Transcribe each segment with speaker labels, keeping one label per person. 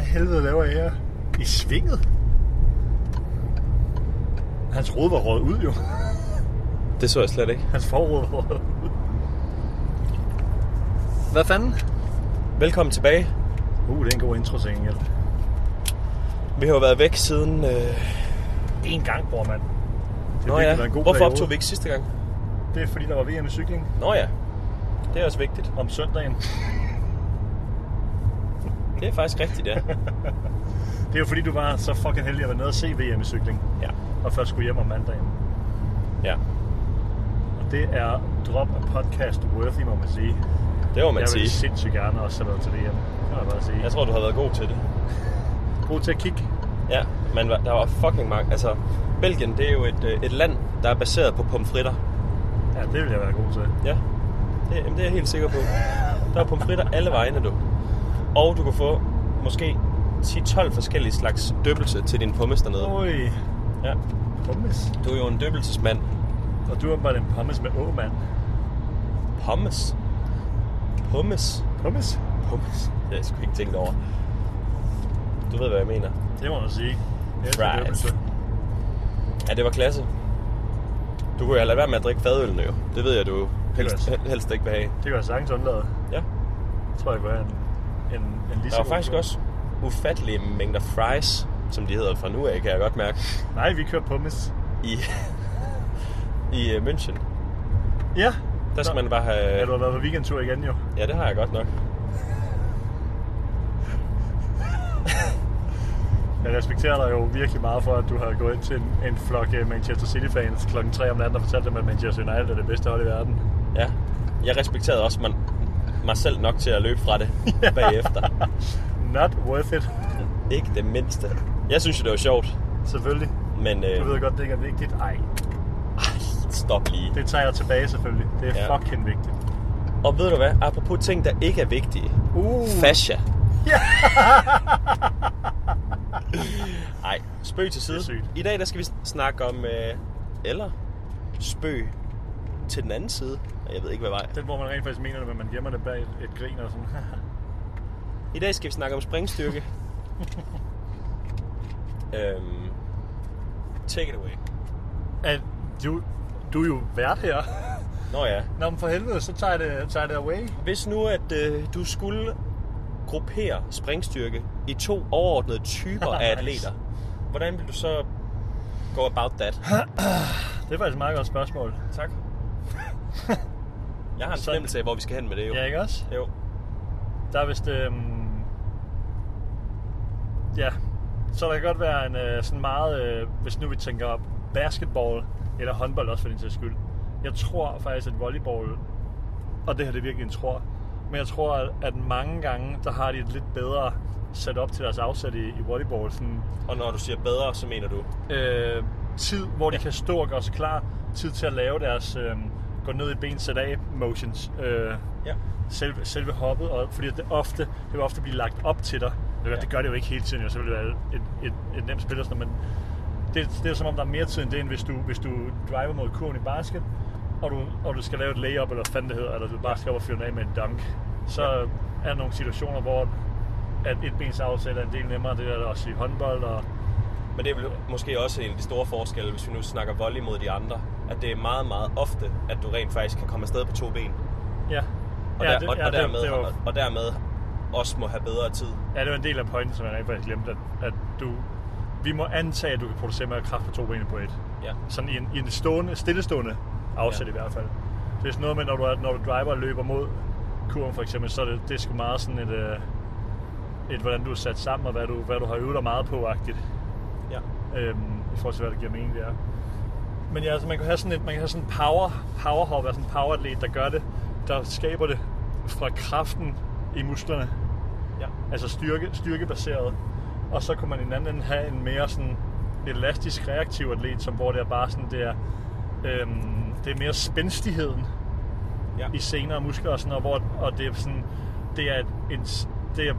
Speaker 1: helvede laver jeg her? I svinget? Hans rod var råd ud jo.
Speaker 2: Det så jeg slet ikke.
Speaker 1: Hans forråd var røget ud. Hvad fanden?
Speaker 2: Velkommen tilbage.
Speaker 1: Uh, det er en god intro til gengæld.
Speaker 2: Vi har jo været væk siden... Øh...
Speaker 1: En gang, bror mand. Det
Speaker 2: Nå
Speaker 1: virkelig
Speaker 2: ja,
Speaker 1: været en god
Speaker 2: hvorfor
Speaker 1: periode.
Speaker 2: optog vi ikke sidste gang?
Speaker 1: Det er fordi, der var VM i cykling
Speaker 2: Nå ja, det er også vigtigt.
Speaker 1: om søndagen.
Speaker 2: Det er faktisk rigtigt, ja.
Speaker 1: Det er jo fordi, du var så fucking heldig at være nede og se VM i cykling.
Speaker 2: ja.
Speaker 1: Og først skulle hjem om mandagen.
Speaker 2: ja.
Speaker 1: Og det er drop af podcast worthy, må man sige.
Speaker 2: Det må man
Speaker 1: jeg
Speaker 2: sige.
Speaker 1: vil sindssygt gerne også have været til VM. Det må jeg bare sige.
Speaker 2: Jeg
Speaker 1: Altså,
Speaker 2: tror, du har været god til det.
Speaker 1: god til at kigge.
Speaker 2: Ja, men hva- der var fucking mange... Altså, Belgien, det er jo et, øh, et land, der er baseret på pomfritter.
Speaker 1: Ja, det vil jeg være god til.
Speaker 2: Ja, det, jamen, det er jeg helt sikker på. Der er pomfritter alle vegne, du. Og du kan få måske 10-12 forskellige slags døbelse til din pommes dernede.
Speaker 1: Oj,
Speaker 2: Ja.
Speaker 1: pommes.
Speaker 2: Du er jo en døbelsesmand.
Speaker 1: Og du er åbenbart en pommes med åmand.
Speaker 2: Pommes. Pommes.
Speaker 1: Pommes?
Speaker 2: Pommes. Det har jeg sgu ikke tænkt over. Du ved, hvad jeg mener.
Speaker 1: Det må man sige. Jeg elsker
Speaker 2: Right.
Speaker 1: døbelse.
Speaker 2: Ja, det var klasse. Du kunne jo lade være med at drikke fadølene jo. Det ved jeg, du
Speaker 1: Det
Speaker 2: helst,
Speaker 1: var-
Speaker 2: helst ikke vil have.
Speaker 1: Det kan jeg sagtens undlade.
Speaker 2: Ja.
Speaker 1: Jeg tror, jeg kunne have en, en, en lige
Speaker 2: Der
Speaker 1: så
Speaker 2: var
Speaker 1: god
Speaker 2: faktisk
Speaker 1: tur.
Speaker 2: også ufattelige mængder fries, som de hedder fra nu af, kan jeg godt mærke,
Speaker 1: Nej, vi kører pommes.
Speaker 2: i, i uh, München.
Speaker 1: Ja.
Speaker 2: Der skal
Speaker 1: Nå.
Speaker 2: man bare have...
Speaker 1: Ja, du har været på weekendtur igen jo.
Speaker 2: Ja, det har jeg godt nok.
Speaker 1: Jeg respekterer dig jo virkelig meget for, at du har gået ind til en, en flok øh, Manchester City-fans kl. 3 om natten og fortalt dem, at Manchester United er det bedste hold i verden.
Speaker 2: Ja. Jeg respekterede også man, mig selv nok til at løbe fra det bagefter.
Speaker 1: Not worth it.
Speaker 2: Ikke det mindste. Jeg synes jo, det var sjovt,
Speaker 1: Selvfølgelig.
Speaker 2: men... Øh,
Speaker 1: Du ved godt, det ikke er vigtigt. Ej,
Speaker 2: ej, stop lige.
Speaker 1: det tager jeg tilbage selvfølgelig. Det er
Speaker 2: Ja.
Speaker 1: ja. fucking vigtigt.
Speaker 2: Og ved du hvad? Apropos ting, der ikke er vigtige.
Speaker 1: Uh.
Speaker 2: Fascia. Ej, spøg til
Speaker 1: Det er
Speaker 2: side.
Speaker 1: sygt.
Speaker 2: I dag der skal vi snakke om... Øh, eller spøg til den anden side. Jeg ved ikke, hvad vej.
Speaker 1: Den, hvor man rent faktisk mener det, men man gemmer det bag et, et grin og sådan.
Speaker 2: I dag skal vi snakke om springstyrke. øhm, take it away.
Speaker 1: at du, du er jo vært her.
Speaker 2: Nå ja.
Speaker 1: Nå, men for helvede, så tager jeg det, tager jeg det away.
Speaker 2: Hvis nu, at øh, du skulle gruppere springstyrke i to overordnede typer af
Speaker 1: Nice.
Speaker 2: atleter, hvordan vil du så go about that?
Speaker 1: Det er faktisk et meget godt spørgsmål.
Speaker 2: Tak. Jeg har en
Speaker 1: Sådan.
Speaker 2: fornemmelse af, hvor vi skal hen med det jo.
Speaker 1: Ja, ikke også?
Speaker 2: Jo.
Speaker 1: Der er vist... Øhm... Ja, så der kan godt være en øh, sådan meget... Øh, hvis nu vi tænker op basketball eller håndbold også for den sags skyld. Jeg tror faktisk, at volleyball... Og det her det er virkelig en tror. Men jeg tror, at, at mange gange, der har de et lidt bedre sat op til deres afsæt i, i volleyball. Sådan,
Speaker 2: Og når du siger bedre, så mener du?
Speaker 1: øh, tid, hvor de
Speaker 2: Ja.
Speaker 1: ja. kan stå og gøre sig klar. Tid til at lave deres øh, gå ned i ben, sæt af motions. Øh,
Speaker 2: Ja.
Speaker 1: selve, selve hoppet, og, fordi det ofte, det vil ofte blive lagt op til dig. Det, ja.
Speaker 2: Ja.
Speaker 1: det gør det jo ikke hele tiden, jo, så vil det være et, et, et nemt spil, og sådan, noget, men det, det er som om, der er mere tid end det, end hvis du, hvis du driver mod kurven i basket, og du, og du skal lave et layup, eller hvad fanden det hedder, eller du bare skal op og fyre den af med en dunk. Så ja. er der nogle situationer, hvor at et bens afsæt er en del nemmere, det er der også i håndbold, og
Speaker 2: Men det er vel måske også en af de store forskelle, hvis vi nu snakker volley mod de andre, at det er meget, meget ofte, at du rent faktisk kan komme afsted på to ben.
Speaker 1: ja.
Speaker 2: Og,
Speaker 1: ja,
Speaker 2: der, og, og, dermed,
Speaker 1: det, det, var,
Speaker 2: og, og dermed også må have bedre tid.
Speaker 1: ja, det var en del af pointen, som jeg rent faktisk glemte, at, at du, vi må antage, at du kan producere mere kraft på to ben end på et.
Speaker 2: Ja.
Speaker 1: sådan i en, i en stående, stillestående afsæt
Speaker 2: Ja.
Speaker 1: ja. i hvert fald. Det er sådan noget med, når du, er- når du driver og løber mod kurven for eksempel, så er det, det er sgu meget sådan et, øh, et, hvordan du er sat sammen, og hvad du, hvad du har øvet dig meget på-agtigt,
Speaker 2: ja.
Speaker 1: øhm, i forhold til, hvad der giver mening, det er. Men ja, altså, man kan have sådan et, man kan have sådan en power, powerhop, altså en poweratlet, der gør det, der skaber det fra kraften i musklerne,
Speaker 2: ja.
Speaker 1: altså styrke, styrkebaseret. Og så kunne man i den anden ende have en mere sådan elastisk reaktiv atlet, som hvor det er bare sådan, det er, øhm, det er mere spændstigheden
Speaker 2: ja.
Speaker 1: i senere muskler og sådan noget, hvor, og det er sådan, det er et, en, det er,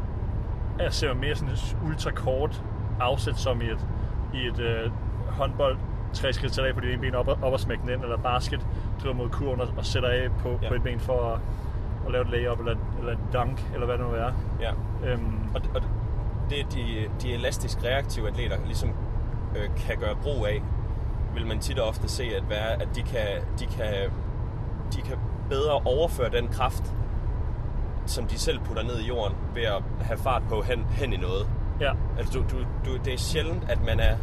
Speaker 1: jeg ser mere sådan et ultrakort afsæt som i et, i et øh, håndbold, tre skridt sætter af på det ene ben op og, op og smækker den ind, eller basket, driver mod kurven og, og sætter af på,
Speaker 2: Ja.
Speaker 1: ja. på et ben for at, at lave et layup eller, eller et dunk, eller hvad det nu er.
Speaker 2: ja.
Speaker 1: Øhm,
Speaker 2: Og, og, det de, de elastisk reaktive atleter ligesom øh, kan gøre brug af, vil man tit og ofte se, at, være, at de, kan, de, kan, de kan bedre overføre den kraft, som de selv putter ned i jorden, ved at have fart på hen, hen i noget.
Speaker 1: Ja.
Speaker 2: Altså, du, du, du, det er sjældent, at man er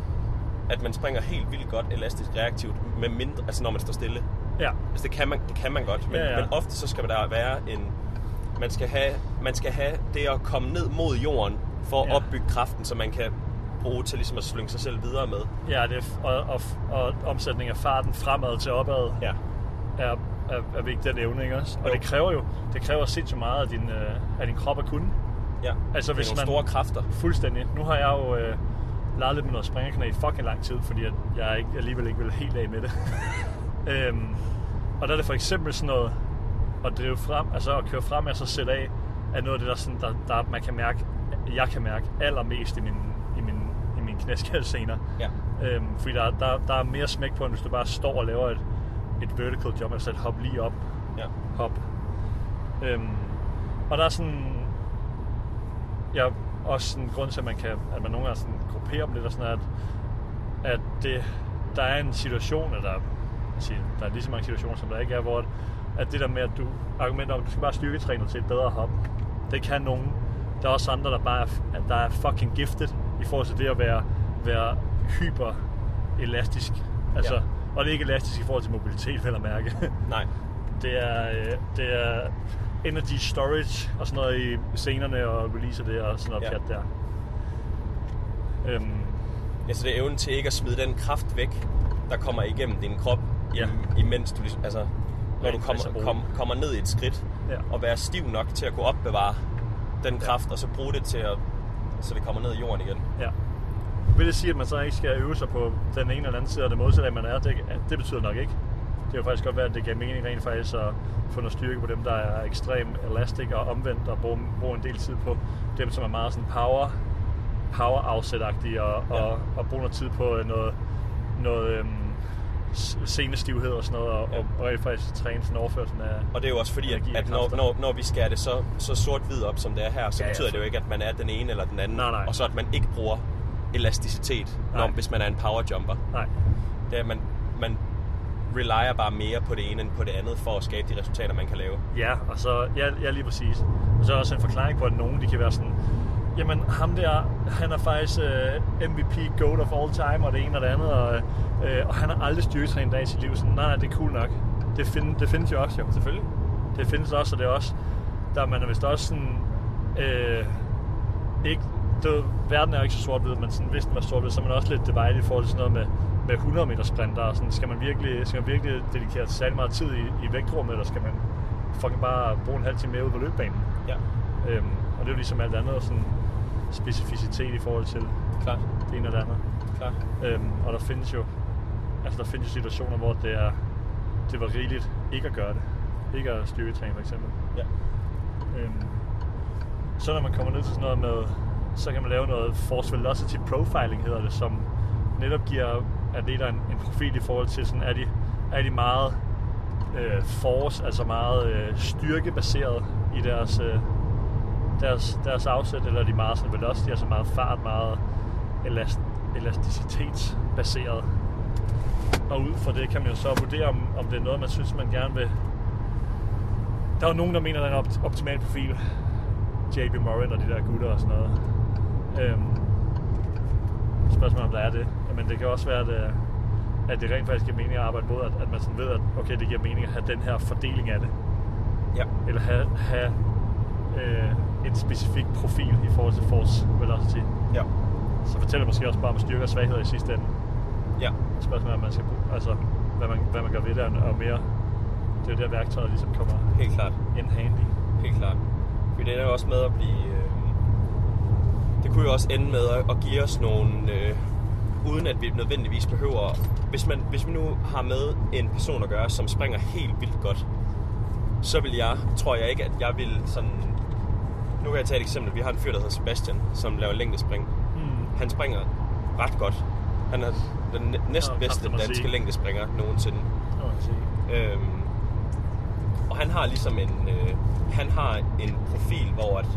Speaker 2: at man springer helt vildt godt elastisk reaktivt, med mindre, altså når man står stille.
Speaker 1: Ja.
Speaker 2: Altså det kan man, det kan man godt, men,
Speaker 1: Ja,
Speaker 2: ja,
Speaker 1: ja.
Speaker 2: ja. men ofte så skal der være en... Man skal have, man skal have det at komme ned mod jorden for at
Speaker 1: Ja.
Speaker 2: ja. opbygge kraften, så man kan bruge til ligesom at slynge sig selv videre med.
Speaker 1: Ja, det er f- og, og, og omsætning af farten fremad til opad
Speaker 2: Ja.
Speaker 1: er, er, er vigtig den evne, ikke også? Og
Speaker 2: Jo.
Speaker 1: det kræver jo det kræver sindssygt meget af din, øh, af din krop at kunne.
Speaker 2: ja.
Speaker 1: Altså,
Speaker 2: det er
Speaker 1: hvis
Speaker 2: nogle
Speaker 1: man-
Speaker 2: store kræfter.
Speaker 1: Fuldstændig. Nu har jeg jo øh, leget lidt med noget springerknæ i fucking lang tid, fordi jeg, jeg ikke, alligevel ikke vil helt af med det. øhm, og der er det for eksempel sådan noget at drive frem, altså at køre frem og så sætte af, er noget af det, der, sådan, der, der man kan mærke, jeg kan mærke allermest i min, i min, i min knæskalsener.
Speaker 2: Ja.
Speaker 1: Øhm, fordi der, der, der er mere smæk på, end hvis du bare står og laver et, et vertical jump, altså et hop lige op,
Speaker 2: Ja.
Speaker 1: hop. Øhm, og der er sådan... Ja, også sådan en grund til, at man, kan, at man nogle gange sådan grupperer dem lidt, og sådan, at, at det, der er en situation, eller sige, der er lige så mange situationer, som der ikke er, hvor at, at det der med, at du argumenter om, at du skal bare styrketræne til et bedre hop, det kan nogen. Der er også andre, der bare er, f- at der er fucking gifted i forhold til det at være, være hyper elastisk. Altså, ja.
Speaker 2: Ja.
Speaker 1: Og det er ikke elastisk i forhold til mobilitet, vel at mærke.
Speaker 2: Nej.
Speaker 1: Det er, øh, det er energy storage og sådan noget i scenerne og releaser det og sådan noget
Speaker 2: Ja.
Speaker 1: ja. pjat der. Øhm,
Speaker 2: Altså det er evnen til ikke at smide den kraft væk, der kommer igennem din krop,
Speaker 1: Ja.
Speaker 2: ja. imens du ligesom, altså, når du
Speaker 1: Rent
Speaker 2: kommer,
Speaker 1: altså bruge.
Speaker 2: kom, kommer ned i et skridt,
Speaker 1: Ja.
Speaker 2: og være stiv nok til at kunne opbevare den kraft, og så bruge det til at, så det kommer ned i jorden igen.
Speaker 1: ja. Vil det sige, at man så ikke skal øve sig på den ene eller anden side af det modsatte, af, man er? Det, det betyder nok ikke. Det kan jo faktisk godt være, at det giver mening rent faktisk at få noget styrke på dem, der er ekstrem elastik og omvendt og bruge, bruge en del tid på dem, som er meget sådan power, power afsætagtige og, ja.
Speaker 2: Ja.
Speaker 1: og, og bruge noget tid på øh, noget, noget øhm, s- senestivhed og sådan noget, og,
Speaker 2: Ja.
Speaker 1: og, og rent faktisk træne sådan overførelsen af...
Speaker 2: Og det er jo også fordi, at,
Speaker 1: Energi og
Speaker 2: at når,
Speaker 1: kræfter.
Speaker 2: når, når vi skærer det så, så sort-hvid op, som det er her, så
Speaker 1: Ja,
Speaker 2: ja,
Speaker 1: ja,
Speaker 2: betyder
Speaker 1: for-
Speaker 2: det jo ikke, at man er den ene eller den anden,
Speaker 1: Nej, nej.
Speaker 2: og så at man ikke bruger elasticitet, når,
Speaker 1: Nej.
Speaker 2: hvis man er en powerjumper.
Speaker 1: Nej,
Speaker 2: Det er, at man, man relyer bare mere på det ene end på det andet, for at skabe de resultater, man kan lave.
Speaker 1: Ja, og så, ja, ja lige præcis. Og så er også en forklaring på, at nogen de kan være sådan, jamen ham der, han er faktisk øh, MVP, GOAT of all time, og det ene og det andet, og, øh, og han har aldrig styrketrænet en dag i sit liv. Sådan, nej, nej, det er cool nok. Det, find, det findes jo også, jo.
Speaker 2: Selvfølgelig.
Speaker 1: Det findes også, og det er også, der man er vist også sådan, øh, ikke, det, verden er jo ikke så sort-hvid, men sådan, hvis den var sort-hvid, så er man også lidt divided i forhold til sådan noget med, med 100 meter sprinter, og sådan, skal man virkelig, skal man virkelig dedikere særlig meget tid i, i vægtrummet, eller skal man fucking bare bruge en halv time mere ude på løbebanen?
Speaker 2: Ja,
Speaker 1: Øhm, og det er jo ligesom alt andet, sådan specificitet i forhold til
Speaker 2: klart.
Speaker 1: det ene og det andet.
Speaker 2: klart.
Speaker 1: Øhm, og der findes jo altså der findes jo situationer, hvor det er det var rigeligt ikke at gøre det. Ikke at styrketræne for eksempel.
Speaker 2: Ja.
Speaker 1: Øhm, så når man kommer ned til sådan noget med, så kan man lave noget force velocity profiling hedder det, som netop giver atleter en, en profil i forhold til sådan, er de, er de meget øh, force, altså meget øh, styrkebaseret i deres, øh, deres, deres afsæt, eller er de meget sådan velocity, altså meget fart, meget elast, elasticitetsbaseret. Og ud fra det kan man jo så vurdere, om, om det er noget, man synes, man gerne vil der er jo nogen, der mener, at den er en opt- optimal profil. JB Moran og de der gutter og sådan noget. Øhm, spørgsmålet er, om der er det. Men det kan også være, at, øh, at det rent faktisk giver mening at arbejde mod, at, at man sådan ved, at okay, det giver mening at have den her fordeling af det.
Speaker 2: Ja.
Speaker 1: Eller have, have øh, en specifik profil i forhold til force velocity.
Speaker 2: Ja.
Speaker 1: Så fortæller måske også bare om styrker og svagheder i sidste ende.
Speaker 2: Ja.
Speaker 1: Spørgsmålet er, om man skal bruge, altså, hvad man, hvad man gør ved det, og- og mere. Det er jo der værktøjet ligesom kommer
Speaker 2: Helt klart.
Speaker 1: in handy.
Speaker 2: Helt klart. For det er jo også med at blive... Øh, det kunne jo også ende med at, at give os nogle... Øh, uden at vi nødvendigvis behøver... Hvis, man, hvis vi nu har med en person at gøre, som springer helt vildt godt, så vil jeg, tror jeg ikke, at jeg vil sådan... Nu kan jeg tage et eksempel. Vi har en fyr, der hedder Sebastian, som laver længdespring.
Speaker 1: Mm.
Speaker 2: Han springer ret godt. Han er den næ-
Speaker 1: Nå,
Speaker 2: næsten bedste
Speaker 1: kræfter mig
Speaker 2: danske
Speaker 1: sige.
Speaker 2: længdespringer nogensinde.
Speaker 1: Nå, jeg se.
Speaker 2: Øhm, og han har ligesom en, øh, han har en profil, hvor at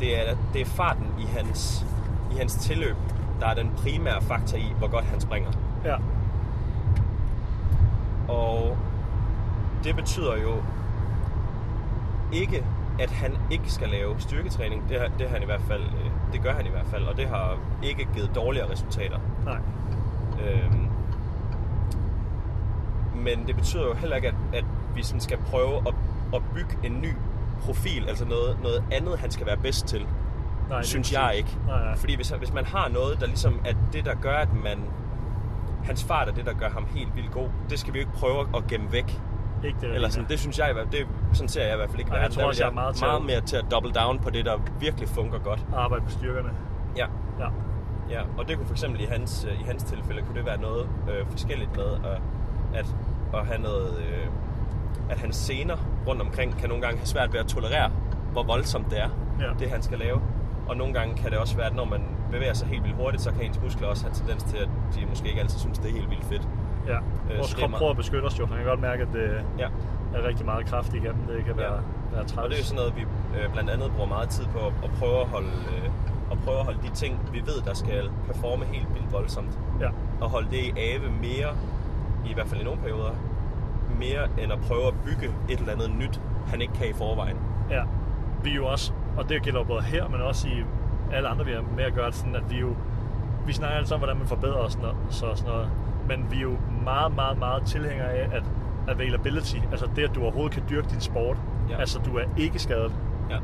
Speaker 2: det, er, det er farten i hans i hans tilløb, der er den primære faktor i, hvor godt han springer.
Speaker 1: Ja.
Speaker 2: Og det betyder jo ikke, at han ikke skal lave styrketræning. Det, har- det, har han i hvert fald, øh, det gør han i hvert fald, og det har ikke givet dårligere resultater.
Speaker 1: Nej.
Speaker 2: Øhm, men det betyder jo heller ikke, at, at vi sådan skal prøve at, at bygge en ny profil, altså noget, noget andet, han skal være bedst til,
Speaker 1: Nej,
Speaker 2: Nej,
Speaker 1: lige
Speaker 2: synes
Speaker 1: præcis.
Speaker 2: jeg ikke.
Speaker 1: Nej, nej.
Speaker 2: Fordi hvis, hvis man har noget, der ligesom er det, der gør, at man... Hans fart er det, der gør ham helt vildt god. Det skal vi jo ikke prøve at gemme væk.
Speaker 1: Ikke det, der
Speaker 2: Eller sådan,
Speaker 1: ligner.
Speaker 2: det synes jeg, i hvert- det, sådan ser jeg i hvert fald ikke.
Speaker 1: Ej, jeg
Speaker 2: verden.
Speaker 1: tror
Speaker 2: Der vil
Speaker 1: også, jeg er meget til-
Speaker 2: meget mere til at double down på det, der virkelig fungerer godt.
Speaker 1: Arbejde på styrkerne.
Speaker 2: Ja,
Speaker 1: Ja.
Speaker 2: Ja, og det kunne for eksempel i hans, øh, i hans tilfælde, kunne det være noget øh, forskelligt med at, at, at have noget, øh, at hans scener rundt omkring kan nogle gange have svært ved at tolerere, hvor voldsomt det er,
Speaker 1: Ja.
Speaker 2: det han skal lave. Og nogle gange kan det også være, at når man bevæger sig helt vildt hurtigt, så kan ens muskler også have tendens til, at de måske ikke altid synes, det er helt vildt fedt.
Speaker 1: ja. Vores
Speaker 2: så det er
Speaker 1: krop
Speaker 2: meget-
Speaker 1: prøver at beskytte os jo. Man kan godt mærke, at det
Speaker 2: Ja.
Speaker 1: er rigtig meget kraft igennem. Det kan
Speaker 2: Ja.
Speaker 1: være, være træls.
Speaker 2: Og det er jo sådan noget, vi øh, blandt andet bruger meget tid på at, at prøve at holde, øh, at prøve at holde de ting, vi ved, der skal performe helt vildt voldsomt,
Speaker 1: Ja.
Speaker 2: at holde det i ave mere, i hvert fald i nogle perioder, mere end at prøve at bygge et eller andet nyt, han ikke kan i forvejen.
Speaker 1: Ja, vi er jo også, og det gælder jo både her, men også i alle andre, vi har med at gøre, sådan at vi jo, vi snakker altid om, hvordan man forbedrer os og så sådan noget, men vi er jo meget, meget, meget tilhængere af, at availability, altså det, at du overhovedet kan dyrke din sport,
Speaker 2: Ja.
Speaker 1: ja. altså du er ikke skadet,
Speaker 2: Ja,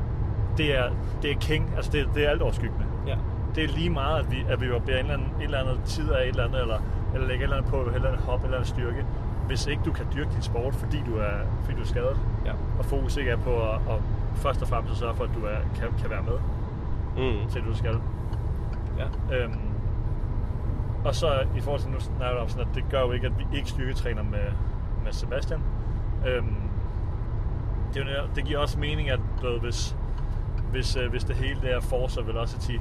Speaker 1: det er, det er king, altså det, det er alt overskyggende.
Speaker 2: ja,
Speaker 1: Det er lige meget, at vi, at vi jo bærer en eller anden, en eller anden tid af et eller andet, eller, eller lægger et eller andet på, eller et eller andet hop, eller en styrke, hvis ikke du kan dyrke din sport, fordi du er, fordi du er skadet
Speaker 2: ja.
Speaker 1: og fokus ikke er på at, at først og fremmest at sørge for, at du er, kan, kan være med
Speaker 2: Mm.
Speaker 1: til det, du skal.
Speaker 2: ja.
Speaker 1: Øhm, og så i forhold til, nu snakker du om sådan, at det gør jo ikke, at vi ikke styrketræner med, med Sebastian. Øhm, det, er jo, netop- det giver også mening, at du ved, hvis, hvis, øh, hvis det hele det er force og velocity,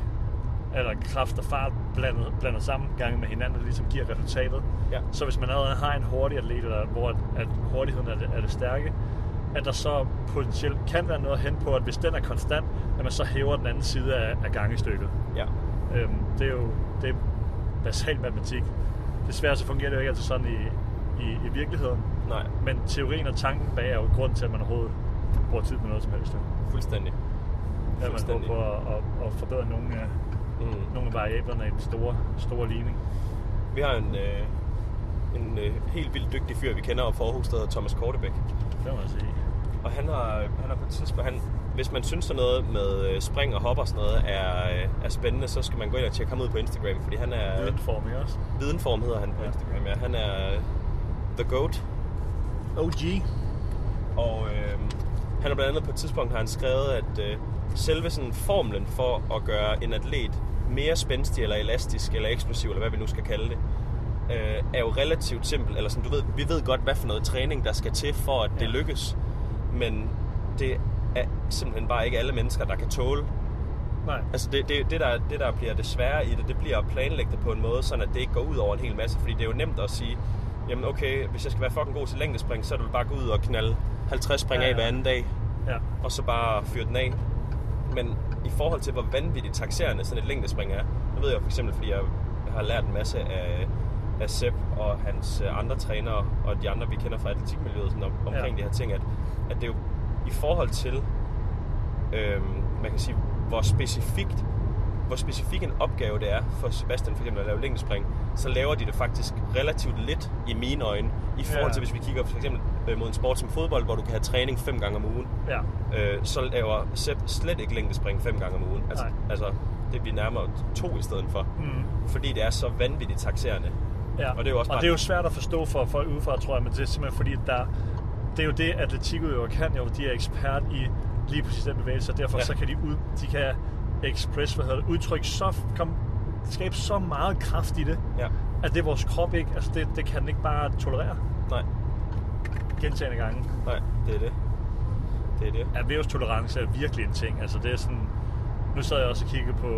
Speaker 1: eller kraft og fart blandet, blandet sammen gange med hinanden, der ligesom giver resultatet.
Speaker 2: Ja.
Speaker 1: Så hvis man allerede har en hurtig atlet, eller hvor at, at hurtigheden er det, er det stærke, at der så potentielt kan være noget hen på, at hvis den er konstant, at man så hæver den anden side af, af gangestykket.
Speaker 2: ja.
Speaker 1: Øhm, det er jo det er basal matematik. Desværre så fungerer det jo ikke altid sådan i, i, i virkeligheden.
Speaker 2: Nej,
Speaker 1: Men teorien og tanken bag er jo grund til, at man overhovedet bruger tid med noget som helst. jo.
Speaker 2: fuldstændig.
Speaker 1: At man prøver på at, at, at forbedre nogle af,
Speaker 2: Mm.
Speaker 1: nogle af variablerne i den store, store ligning.
Speaker 2: Vi har en, øh, en øh, helt vildt dygtig fyr, vi kender op fra Aarhus, der hedder Thomas Kortebæk.
Speaker 1: Det må man sige.
Speaker 2: Og han har, han har på et tidspunkt, han, hvis man synes sådan noget med øh, spring og hop og sådan noget er, øh, er spændende, så skal man gå ind og tjekke ham ud på Instagram, fordi han er...
Speaker 1: Videnform, ikke også?
Speaker 2: Videnform hedder han på
Speaker 1: Ja.
Speaker 2: Instagram, ja. Han er øh, The Goat,
Speaker 1: OG.
Speaker 2: og øh, han har blandt andet på et tidspunkt har han skrevet, at øh, selve sådan formlen for at gøre en atlet mere spændstig eller elastisk eller eksplosiv, eller hvad vi nu skal kalde det, øh, er jo relativt simpel. Eller sådan, du ved, vi ved godt, hvad for noget træning, der skal til for, at det
Speaker 1: Ja.
Speaker 2: lykkes. Men det er simpelthen bare ikke alle mennesker, der kan tåle
Speaker 1: Nej.
Speaker 2: Altså det, det, det, der, det, der bliver det svære i det, det bliver at planlægge det på en måde, sådan at det ikke går ud over en hel masse. Fordi det er jo nemt at sige, jamen okay, hvis jeg skal være fucking god til længdespring, så er det vel bare at gå ud og knalde 50 spring
Speaker 1: Ja,
Speaker 2: ja, af
Speaker 1: ja.
Speaker 2: hver anden dag,
Speaker 1: Ja.
Speaker 2: og så bare fyre den af. Men i forhold til, hvor vanvittigt taxerende sådan et længdespring er, det ved jeg for eksempel, fordi jeg har lært en masse af, af Sepp og hans øh, andre trænere, og de andre, vi kender fra atletikmiljøet sådan om, omkring
Speaker 1: Ja.
Speaker 2: ja. de her ting, at, at det er jo i forhold til, øhm, man kan sige, hvor specifikt hvor specifik en opgave det er for Sebastian for eksempel at lave længdespring, så laver de det faktisk relativt lidt i mine øjne, i forhold
Speaker 1: Ja.
Speaker 2: til hvis vi kigger for eksempel øh, mod en sport som fodbold, hvor du kan have træning fem gange om ugen
Speaker 1: Ja.
Speaker 2: øh, så laver Sepp slet ikke længdespring fem gange om ugen. Altså,
Speaker 1: Nej.
Speaker 2: altså det bliver nærmere to i stedet for.
Speaker 1: Mm.
Speaker 2: Fordi det er så vanvittigt taxerende.
Speaker 1: Ja.
Speaker 2: Og det er jo også
Speaker 1: og
Speaker 2: bare-
Speaker 1: det er jo svært at forstå for folk udefra, tror jeg, men det er simpelthen fordi, at der, det er jo det, atletikudøvere kan jo. De er ekspert i lige præcis den bevægelse, og derfor
Speaker 2: Ja.
Speaker 1: ja. så kan de, ud, de kan express, hvad hedder det, udtrykke så, kom, skabe så meget kraft i det,
Speaker 2: Ja,
Speaker 1: at det vores krop ikke, altså det, det kan den ikke bare tolerere
Speaker 2: nej,
Speaker 1: gentagende gange.
Speaker 2: nej, det er det. Det er det.
Speaker 1: Erhvervstolerance er virkelig en ting. Altså det er sådan, nu sad jeg også og kiggede på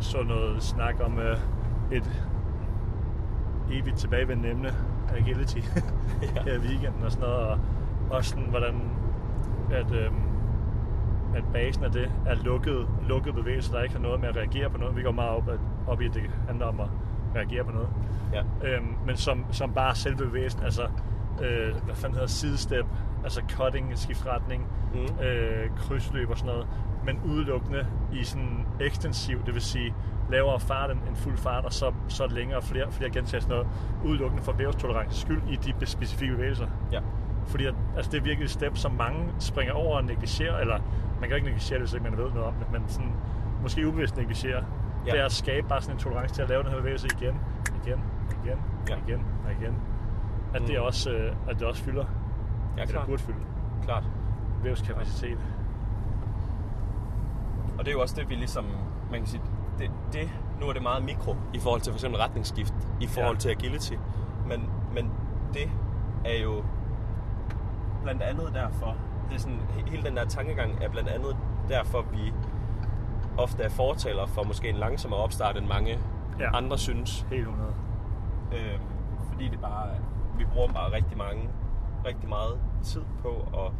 Speaker 1: sådan noget snak om øh, et evigt tilbagevendende emne, agility,
Speaker 2: Ja.
Speaker 1: her i weekenden og sådan noget, og også sådan, hvordan at, øhm, at basen af det er lukket, lukket bevægelser, der ikke har noget med at reagere på noget. Vi går meget op, at, op i, at det handler om at reagere på noget.
Speaker 2: Ja.
Speaker 1: Øhm, men som, som bare er selve bevægelsen, altså øh, hvad fanden hedder sidestep, altså cutting, skiftretning,
Speaker 2: Mm.
Speaker 1: mm. øh, krydsløb og sådan noget, men udelukkende i sådan ekstensiv, det vil sige lavere fart end, end fuld fart, og så, så længere og flere, flere gentagelser sådan noget, udelukkende for vævstolerances skyld i de be- specifikke bevægelser.
Speaker 2: Ja.
Speaker 1: Fordi at, altså, det er virkelig et step, som mange springer over og negligerer, eller man kan ikke negligere det, hvis ikke man ved noget om det, men sådan, måske ubevidst negligerer.
Speaker 2: Ja.
Speaker 1: Ja. Det er at skabe bare sådan en tolerance til at lave den her bevægelse igen, igen, igen,
Speaker 2: Ja.
Speaker 1: ja. igen og igen. At, det
Speaker 2: Mm.
Speaker 1: også, øh, at det også fylder,
Speaker 2: Ja,
Speaker 1: eller
Speaker 2: klart.
Speaker 1: burde fylde,
Speaker 2: klart.
Speaker 1: vævskapacitet.
Speaker 2: Og det er jo også det, vi ligesom, man kan sige, det, det, nu er det meget mikro i forhold til for eksempel retningsskift, i forhold ja.
Speaker 1: Ja.
Speaker 2: til agility. Men, men det er jo blandt andet derfor, det er sådan, he- hele den der tankegang er blandt andet derfor, vi ofte er fortaler for måske en langsommere opstart, end mange ja.
Speaker 1: Ja.
Speaker 2: andre synes.
Speaker 1: Helt 100.
Speaker 2: Øh, fordi det bare, vi bruger bare rigtig mange, rigtig meget tid på at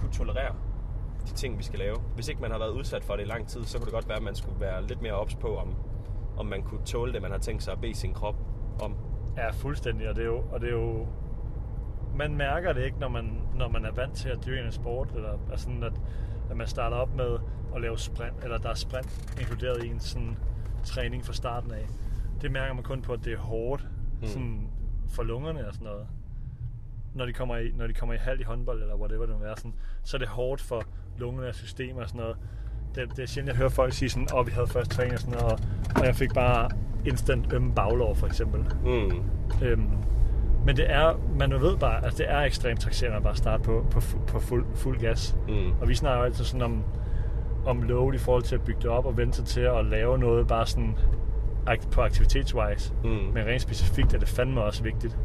Speaker 2: kunne tolerere de ting, vi skal lave. Hvis ikke man har været udsat for det i lang tid, så kunne det godt være, at man skulle være lidt mere ops på, om, om man kunne tåle det, man har tænkt sig at bede sin krop om.
Speaker 1: Ja, fuldstændig, og det er jo, og det er jo man mærker det ikke, når man, når man er vant til at dyrke en sport, eller er sådan, at, at man starter op med at lave sprint, eller der er sprint inkluderet i en sådan træning fra starten af. Det mærker man kun på, at det er hårdt
Speaker 2: Mm.
Speaker 1: mm. sådan for lungerne og sådan noget. Når de kommer i, når de kommer i halv i håndbold, eller whatever det nu er, sådan, så er det hårdt for lungerne og systemet og sådan noget. Det, det er sjældent, jeg hører folk sige sådan, åh, oh, vi havde først træning og sådan noget, og, og jeg fik bare instant ømme baglov, for eksempel.
Speaker 2: Mm.
Speaker 1: Øhm, men det er, man ved bare, at altså det er ekstremt taxerende at bare starte på, på, fu- på fuld, fuld gas.
Speaker 2: Mm.
Speaker 1: Og vi snakker jo altid sådan om, om load i forhold til at bygge det op og vente sig til at lave noget bare sådan ak- på aktivitetswise.
Speaker 2: Mm.
Speaker 1: Men rent specifikt er det fandme også vigtigt,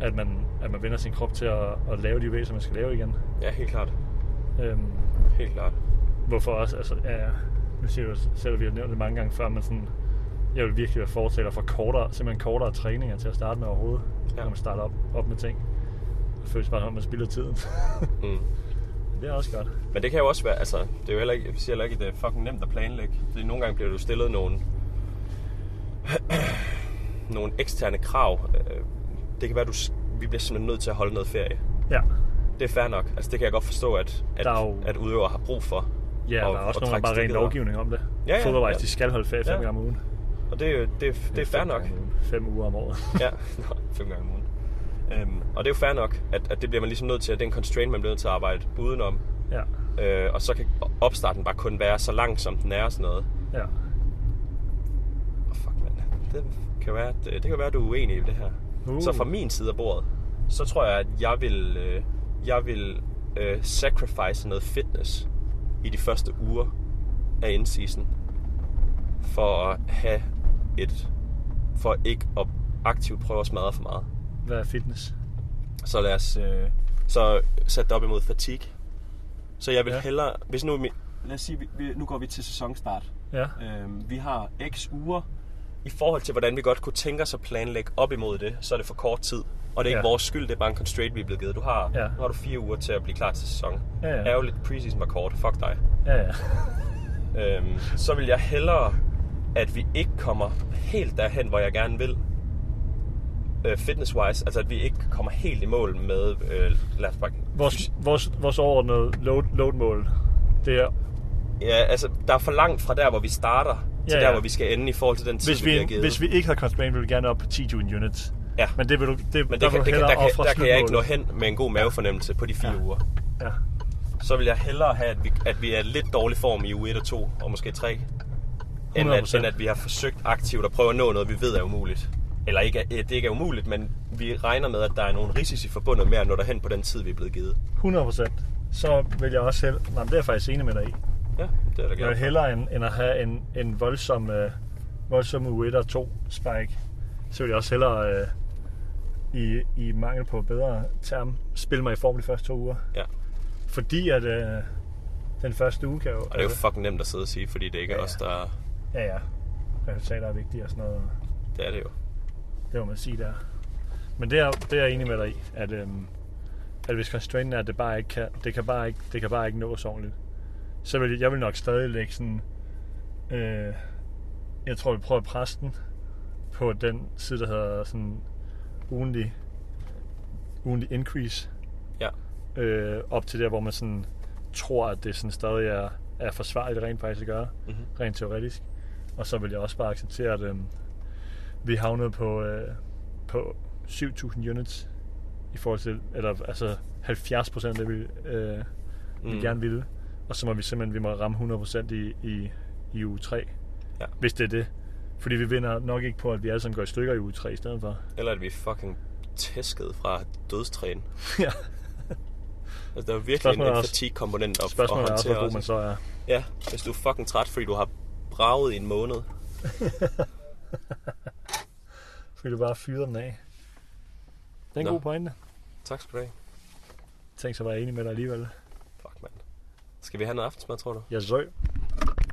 Speaker 1: at man, at man vender sin krop til at, at lave de bevægelser, man skal lave igen.
Speaker 2: Ja, helt klart.
Speaker 1: Øhm,
Speaker 2: Helt klart.
Speaker 1: hvorfor også, altså, ja, ja, nu siger du selv, at vi har nævnt det mange gange før, men sådan, jeg vil virkelig være fortaler for kortere, simpelthen kortere træninger til at starte med overhovedet,
Speaker 2: Ja.
Speaker 1: ja. når man starter op, op med ting. Det føles bare, som om man spilder tiden.
Speaker 2: Mm.
Speaker 1: det er også godt.
Speaker 2: Men det kan jo også være, altså, det er jo heller ikke, jeg siger heller ikke, at det er fucking nemt at planlægge. Fordi nogle gange bliver du stillet nogle, nogle eksterne krav. Øh, Det kan være, du, s- vi bliver simpelthen nødt til at holde noget ferie.
Speaker 1: Ja,
Speaker 2: Det er fair nok. Altså, det kan jeg godt forstå, at, at,
Speaker 1: Der er jo-
Speaker 2: at udøvere har brug for.
Speaker 1: ja og, der er også nogle, der
Speaker 2: trække
Speaker 1: bare ren
Speaker 2: stikket op.
Speaker 1: lovgivning om det.
Speaker 2: Ja, ja,
Speaker 1: Fodboldvejs,
Speaker 2: ja.
Speaker 1: de skal holde ferie fem
Speaker 2: Ja.
Speaker 1: gange om ugen.
Speaker 2: Og det er, jo- det, er- det er
Speaker 1: Fem
Speaker 2: fair nok.
Speaker 1: gange om ugen. Fem uger om året.
Speaker 2: Ja, Nå, fem gange om ugen. Øhm, og det er jo fair nok, at, at det bliver man ligesom nødt til, at det er en constraint, man bliver nødt til at arbejde udenom.
Speaker 1: ja,
Speaker 2: Øh, og så kan opstarten bare kun være så lang, som den er og sådan noget.
Speaker 1: ja.
Speaker 2: Oh, fuck, mand. Det kan være, øh, det, det kan være, du er uenig i det her. Uh.
Speaker 1: Uh.
Speaker 2: Så fra min side af bordet, så tror jeg, at jeg vil, øh, jeg vil øh, sacrifice noget fitness i de første uger af indseason for at have et, for ikke at aktivt prøve at smadre for meget.
Speaker 1: Hvad er fitness?
Speaker 2: Så lad os øh, så sætte det op imod fatigue. Så jeg vil ja.
Speaker 1: Ja.
Speaker 2: hellere, hvis nu... min- Lad os sige, vi, vi, nu går vi til sæsonstart.
Speaker 1: Ja,
Speaker 2: Øhm, vi har x uger. I forhold til, hvordan vi godt kunne tænke os at planlægge op imod det, så er det for kort tid. Og det er ikke
Speaker 1: Ja.
Speaker 2: vores skyld, det er bare en constraint, vi er blevet givet. Du har,
Speaker 1: Ja.
Speaker 2: nu har du fire uger til at blive klar til sæsonen.
Speaker 1: Ja, ja.
Speaker 2: Ærgerligt, preseason var kort. Fuck dig.
Speaker 1: ja, ja.
Speaker 2: Øhm, så vil jeg hellere, at vi ikke kommer helt derhen, hvor jeg gerne vil. Øh, fitness-wise, altså at vi ikke kommer helt i mål med, øh, lad os bare...
Speaker 1: Vores, vores, vores overordnede load, load-mål, det er,
Speaker 2: Ja, altså, der er for langt fra der, hvor vi starter, til
Speaker 1: Ja,
Speaker 2: der,
Speaker 1: ja.
Speaker 2: hvor vi skal ende i forhold til den tid,
Speaker 1: hvis
Speaker 2: vi bliver
Speaker 1: vi,
Speaker 2: givet.
Speaker 1: hvis vi ikke havde constraint, ville vi gerne op på 10 June units.
Speaker 2: Ja.
Speaker 1: Men det vil du, det,
Speaker 2: Men
Speaker 1: der
Speaker 2: det
Speaker 1: vil
Speaker 2: kan,
Speaker 1: du
Speaker 2: det kan,
Speaker 1: hellere
Speaker 2: der, kan,
Speaker 1: ofre
Speaker 2: der kan jeg ikke nå
Speaker 1: slutmålet.
Speaker 2: hen med en god mavefornemmelse på de fire ja. uger.
Speaker 1: Ja.
Speaker 2: Så vil jeg hellere have, at vi, at vi er i lidt dårlig form i uge 1 og 2, og måske 3, end at,
Speaker 1: 100%.
Speaker 2: end at vi har forsøgt aktivt at prøve at nå noget, vi ved er umuligt. Eller ikke, er- det ikke er umuligt, men vi regner med, at der er nogle risici forbundet med at nå derhen på den tid, vi er blevet givet.
Speaker 1: 100%. Så vil jeg også hellere... Nej, men det er jeg faktisk enig med dig i.
Speaker 2: Ja, det er da
Speaker 1: Jeg vil
Speaker 2: godt.
Speaker 1: hellere end, end at have en, en voldsom, øh, voldsom Ueda 2 spike. Så vil jeg også hellere øh, i, i mangel på bedre term spille mig i form de første to uger.
Speaker 2: Ja.
Speaker 1: Fordi at øh, den første uge kan jo...
Speaker 2: Og det er jo fucking nemt at sidde og sige, fordi det ikke er
Speaker 1: Ja, ja.
Speaker 2: os, der...
Speaker 1: ja, ja. Resultater er vigtige og sådan noget.
Speaker 2: Det er det jo.
Speaker 1: Det må man sige der. Men det er, det er jeg enig med dig i, at, øhm, at hvis constrainten er, at det bare ikke kan, det kan bare ikke, det kan bare ikke nås ordentligt, så vil jeg vil nok stadig lægge sådan... Øh, jeg tror, vi prøver at presse den på den side, der hedder sådan ugenlig, ugenlig increase.
Speaker 2: Ja.
Speaker 1: Øh, op til der, hvor man sådan tror, at det sådan stadig er, er forsvarligt rent faktisk at gøre,
Speaker 2: Mm-hmm.
Speaker 1: rent teoretisk. Og så vil jeg også bare acceptere, at øh, vi havnede på, øh, på 7.000 units i forhold til, eller altså 70 procent af det, vi, øh, vi
Speaker 2: Mm.
Speaker 1: gerne ville. Og så må vi simpelthen vi må ramme 100% i, i, i uge 3.
Speaker 2: Ja.
Speaker 1: Hvis det er det. Fordi vi vinder nok ikke på, at vi alle sammen går i stykker i uge 3 i stedet for.
Speaker 2: Eller at vi er fucking tæsket fra dødstræn.
Speaker 1: ja.
Speaker 2: Altså, der er virkelig en,
Speaker 1: Spørgsmålet er
Speaker 2: en
Speaker 1: også-
Speaker 2: fatigue-komponent op at
Speaker 1: Spørgsmålet er også,
Speaker 2: håndtere.
Speaker 1: hvor god man
Speaker 2: også.
Speaker 1: så er.
Speaker 2: Ja, hvis du er fucking træt, fordi du har braget i en måned.
Speaker 1: Fordi du bare fyrer den af. Det er en
Speaker 2: Nå.
Speaker 1: god pointe.
Speaker 2: Tak skal du have.
Speaker 1: Tænk så var jeg enig med dig alligevel.
Speaker 2: Fuck, mand. Skal vi have noget aftensmad, tror du?
Speaker 1: Jeg søg.